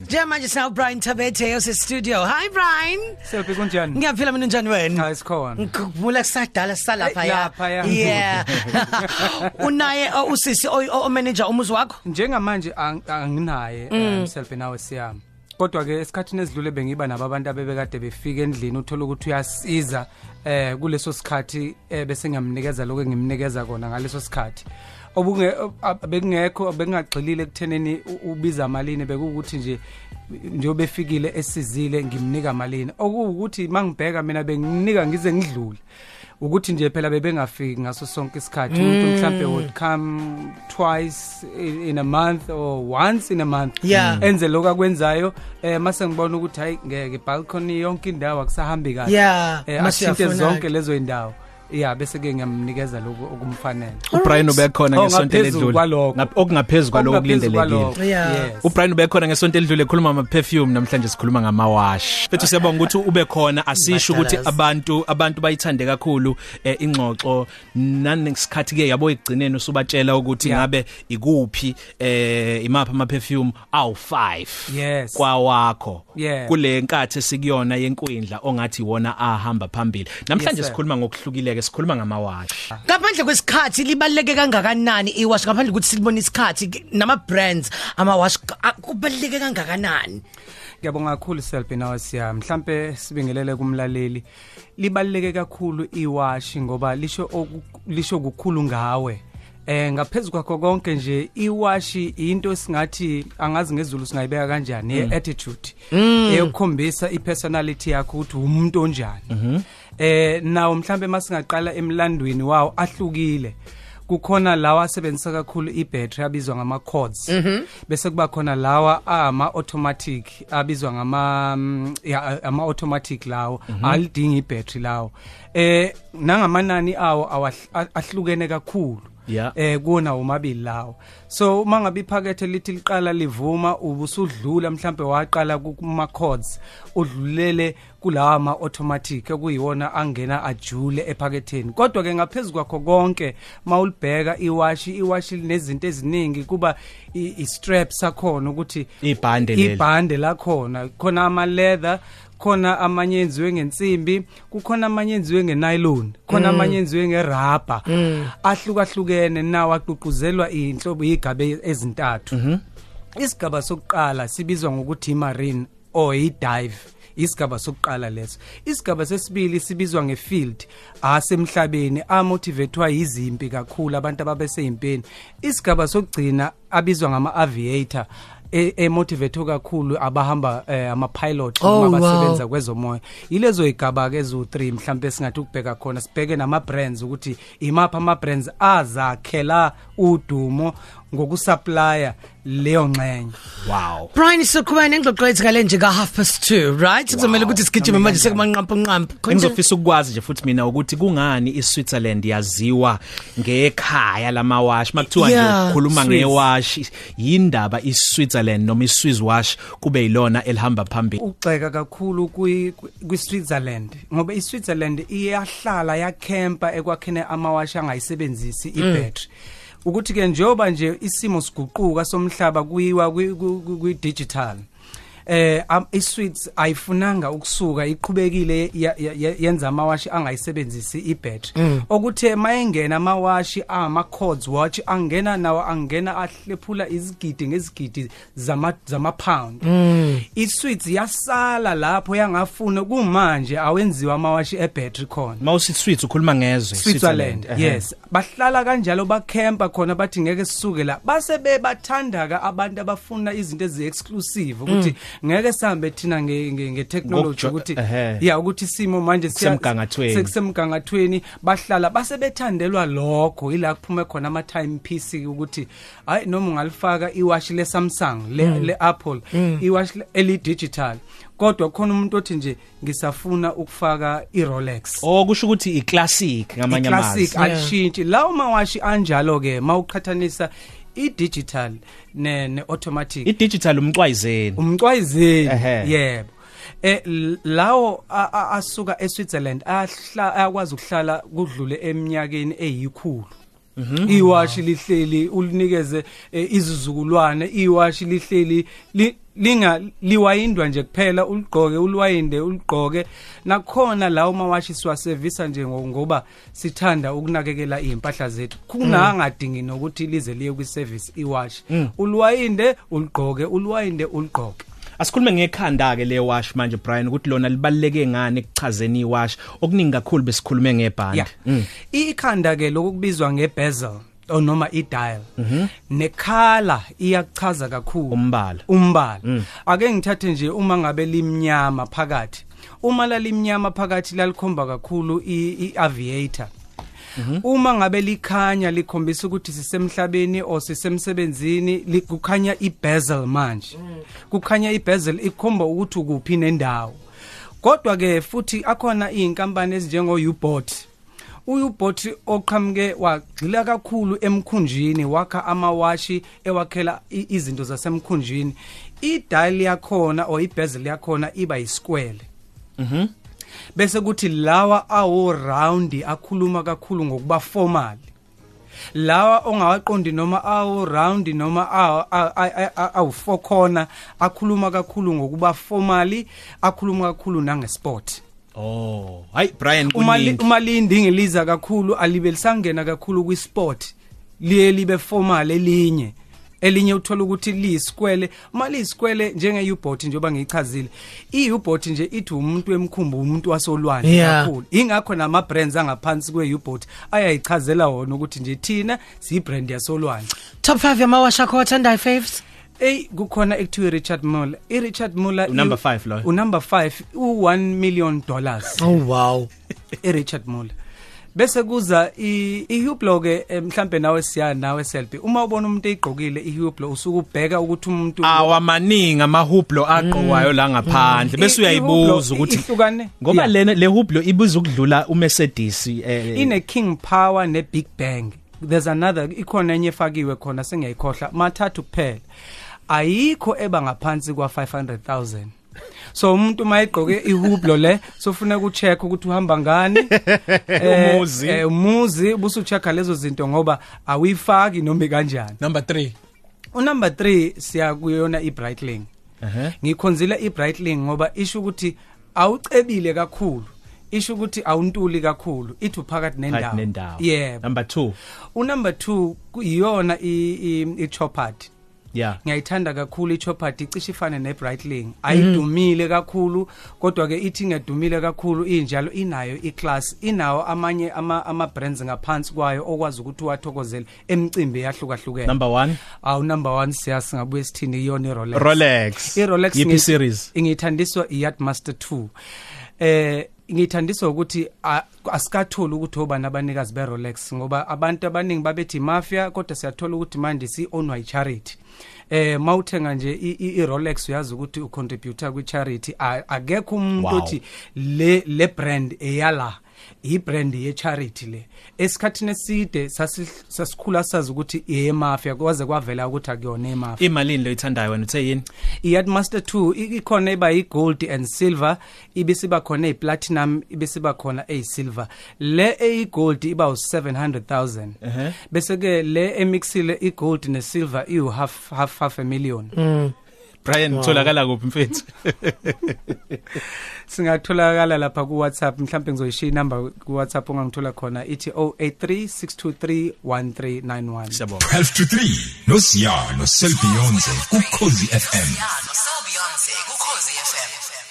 njengamanje sinawo Brian Tabethe yose studio hi Brian Selfie kunjani? ngiyaphila mina njani wena Hayi sikhona. ngikhumbula kusadala salapha Eh, ya lapha, ya. yeah unaye uh, usisi o manager umuzi wakho Njengamanje ang- anginaye um, selfie nawe siyami. Kodwa ke esikhathini esidlule bengiba nababantu abebekade befika endlini uthola ukuthi uyasiza eh kuleso sikhathi eh, bese ngiyamnikeza lokho ngimnikeza kona ngaleso sikhathi. Obunge ab- bekungekho bengingagxilile kutheneni u- ubiza malini bekukuthi nje njobe fikile esizile ngimnika malini. Okuwukuthi mangibheka mina benginika ngize ngidlule. ukuthi nje phela bebengafiki ngaso sonke isikhathi umuntu Mm. mhlambe would come twice in, in a month or once in a month Mm. Yeah. enze lokho akwenzayo eh mase ngibona ukuthi hayi ngeke balcony yonke indawo akusahambi kahle Yeah, eh, mase ashinte uyafuna-ke. zonke lezo indawo ya bese ke ngiyamnikeza lokho okumfanele uBrian ubekhona Oh, ngesonto ngaphezulu eledlule kwalokho. Ngap- okungaphezulu kwalokho Okungaphezulu kulindelekile kwalokho, Yeah. yes. uBrian ubekhona ngesonto eledlule ekhuluma ngamaperfume namhlanje sikhuluma ngamawash bethu siyabonga ukuthi ube khona asisho ukuthi Madalazi. abantu abantu bayithande kakhulu eh, ingxoxo nanesikhathi ke yabo egcineni usubatshela ukuthi Yeah. ngabe ikuphi eh imapha amaperfume awu 5 Yes. kwawakho Yeah. kule nkathi sikuyona yenkwindla ongathi wona ahamba phambili namhlanje Yes, sir. Ah. sikhuluma ngokuhlukileke sikhuluma ngamawash ngaphandle kwesikhathi libaluleke kangakanani iwash ngaphandle ukuthi silibona isikhathi ke- nama brands ama wash ah, kubaluleke kangakanani ngiyabonga kakhulu selfie nawe siya mhlambe sibingelele kumlaleli libaleke kakhulu iwashi ngoba lisho oku- lisho kukhulu ngawe eh ngaphezulu kwakho konke nje iwashi into singathi angazi ngezulu singayibeka kanjani ye attitude eyokukhombisa ipersonality yakho ukuthi umuntu onjani eh nawo mhlambe masingaqala emlandweni wawo ahlukile kukhona lawa asebenzisa kakhulu i-battery abizwa ngama-cords bese kuba khona lawa ama-automatic abizwa ngama mm, ya, ama-automatic lawo alidingi i-battery lawo eh nangamanani awo awahl- a- ahlukene kakhulu Yeah. eh kuona umabili lawo so uma ngabe iphakethe lithi liqala livuma ubusudlula mhlambe waqala kuma chords udlulele kulawa ama automatic okuyiwona angena ajule ephaketheni kodwa ke ngaphezulu kwakho konke mawulibheka iwashi iwashi linezinto eziningi kuba i i- strap sakhona ukuthi Ibhande leli. ibhande lakhona khona ama leather khona amanye enziwe ngensimbi kukhona amanye enziwe ngenylon khona amanye enziwe ngerubber ahlukahlukene nawo aququzelwa inhlobo igaba ezintathu isigaba sokuqala sibizwa ngokuthi marine or dive isigaba sokuqala leso isigaba sesibili sibizwa ngefield asemhlabeni amotivetwa izimpi kakhulu abantu ababeseyimpeni isigaba sokugcina abizwa ngama aviator emotivetho kakhulu abahamba eh, ama pilot Oh, noma wow. abasebenza kwezomoya yilezo igaba ke ezu3 mhlawumbe singati ukubheka khona sibheke nama brands ukuthi imapha ama brands azakhela udumo ngokusupplya leyo ngxenye wow Brian siqhubana nengxoxo yethu ngale nje ka half past 2 right kuzomela ukuthi sigijime manje sekumanqampa nqampa Ngizofisa ukwazi nje futhi mina ukuthi kungani iSwitzerland yaziwa ngekhaya lamawash makuthiwa Yeah, nje ukukhuluma Swiss. ngewash yindaba iSwitzerland noma iSwiss wash kube yilona elihamba phambili ugxeka kakhulu kwi kwi- Switzerland ngoba iSwitzerland iyahlala yakhempa ekwakhene amawashi angayisebenzisi ibattery ukuthi ke njoba nje isimo siguquka somhlaba kuyiwa kwi- kwi kwi- digital eh am- iSwiss ayifunanga ukusuka iqhubekile ya- ya- ya- yenza amawashi angayisebenzisi ibattery okuthe mayengena amawashi ama cords watch angena nawo angena ahlephula izigidi ngezigidi zama zama pound iSwiss yasala lapho yangafuna kumanje awenziwa amawashi ebattery khona mawusithi Swiss ukhuluma ngezwe Switzerland ehe. yes bahlala kanjalo bakhempa khona bathi ngeke sisuke la base bebathanda ka abantu abafuna izinto eziexclusive ukuthi Mm. ngeke sihambe thina nge nge- nge technology Ngokujo- ukuthi ehhe. ya ukuthi simo manje siya- Kusemgangathweni. sekusemgangathweni bahlala base bethandelwa lokho ila kuphume khona ama time piece ukuthi hayi noma ungalifaka iwash le Samsung le Mm. le Apple iwash le digital kodwa khona umuntu othi nje ngisafuna ukufaka i Rolex okusho Oh, ukuthi iclassic ngamanye amazwi i-classic alishintshi lawo mawashi anjalo ke mawuqhathanisa i-digital ne- ne-automatic idigital umcwayizeni umcwayizeni Ehhe. yebo eh l- lawo a- a- asuka eSwitzerland ahla- ayakwazi ukuhlala kudlule eminyakeni eyikhulu iwashi lihleli ulinikeze eh, izizukulwane iwashi lihleli li- linga liwayindwa nje kuphela uligqoke uliwayinde uligqoke nakhona la umawashi siwasevisa nje ngo- ngoba sithanda ukunakekela iy'mpahla zethu kunangadingi nokuthi lize liye kwiservice iwashi uliwayinde uligqoke uliwayinde uligqoke Asikhulume ngekhanda ke le wash manje Brian ukuthi lona libaluleke ngani ekuchazeni iwash okuningi kakhulu besikhulume ngebhandi. yeah ikhanda ke lokubizwa ngebezel noma idial nekhala iyachaza kakhulu Umbala. umbala ake ngithathe nje uma ngabe limnyama phakathi uma lalimnyama phakathi lalikhomba kakhulu i i- aviator uma ngabe likhanya likhombisa ukuthi sisemhlabeni or sisemsebenzini li- kukhanya ibezel manje kukhanya ibezel ikhomba ukuthi ukuphi nendawo kodwa ke futhi akhona izinkampani ezinjengo U-Boat uyubhothi oqhamuke wagxila kakhulu emkhunjini wakha amawashi ewakhela i- izinto zasemkhunjini idal yakhona or ibhezel yakhona iba yiskwele bese kuthi lawa awo round akhuluma kakhulu ngokuba formal lawa ongawaqondi noma awo round noma awu- a- a- a- awu four corner akhuluma kakhulu ngokuba formally akhuluma kakhulu nangesport Oh, hayi Brian uma li- kuningi. uma liyindinge liza kakhulu alibe lisangena kakhulu kwisport liye libe formal elinye elinye uthola ukuthi liyisikwele uma liyisikwele njenge-ubot njengoba ngiyichazile i-ubot nje ithi umuntu emkhumbu umuntu wasolwandle Yeah. kakhulu ingakho nama-brands angaphansi kwe-ubot ayayichazela wona ukuthi nje thina siyi-brand yasolwandle top 5 yamawashi akho athandayo faves eyi kukhona ekuthiwa i-richard muller i-richard muller U-number five loyo. unumber five u-one million dollars oh wow iRichard Muller bese kuza iHublo ke eh, mhlambe nawe siya nawe selfie uma ubona umuntu eyigqokile iHublo usuke ubheka ukuthi umuntu awamaningi amahublo aqokwayo la Mm. I- ngaphandle bese uyayibuza i-Hublot ukuthi ihlukane? ngoba Yeah. lena le hublo ibuza ukudlula uMercedes eh ine King Power ne Big Bang there's another ikhona enye efakiwe khona sengiyayikhohla mathathu kuphela ayikho eba ngaphansi kwa 500000 so umuntu mayigqoke iHublo le sofuna ukucheck ukuthi uhamba ngani Eh, Umuzi. eh, umuzi busu check lezo zinto ngoba awuyifaki noma kanjani number 3 unumber 3 siya kuyona ibrightling ehe ngikhonzile ibrightling ngoba isho ukuthi awucebile kakhulu isho ukuthi awuntuli kakhulu ithu phakathi phakathi nendawo nendawo yebo number 2 unumber 2 kuyiyona ichopard yeah ngiyayithanda kakhulu ichopard icishe ifane Mm-hmm. nebrightling ayidumile kakhulu kodwa ke ithi ngedumile kakhulu injalo inayo iclass inawo amanye ama, ama brands ngaphansi kwayo okwazi ukuthi wathokozele emcimbi yahlukahlukene number 1 awu number one siya singabuye sithini iyona irolex Rolex irolex yipi series ngiyithandiswa iyardmaster two eh ngiyithandiswa ukuthi a- asikatholi ukuthi obani abanikazi be-rolex ngoba abantu abaningi babethi mafia kodwa siyathola ukuthi manje si-onwa i-charity um ma uthenga nje i- i- i-rolex uyazi ukuthi ucontributa kwi-charity A- akekho umuntu Wow. othi le le brand eyala i-brand ye-charity le esikhathini eside sasi- sasikhula sazi ukuthi eyemafia kwaze kwavela ukuthi akuyona emafia imalini loyithandayo wena uthe yini i-Yardmaster 2 i- ikhona eba yi-gold and silver ibisiba khona eyi-platinum ibisiba khona eyi-silver le eyi-gold iba u-700 000 bese-ke le emixile i-gold ne-silver iwu-half half, half a million Brian utholakala kuphi mfethu singatholakala lapha kuwhatsapp mhlawumbe ngizoyishiya inamba kuwhatsapp ongangithola khona ithi 083 623 1391 siyabonga 12 to 3 noSiya noSelbionze kukhozi FM Yano, so Beyonce, kukhozi FM.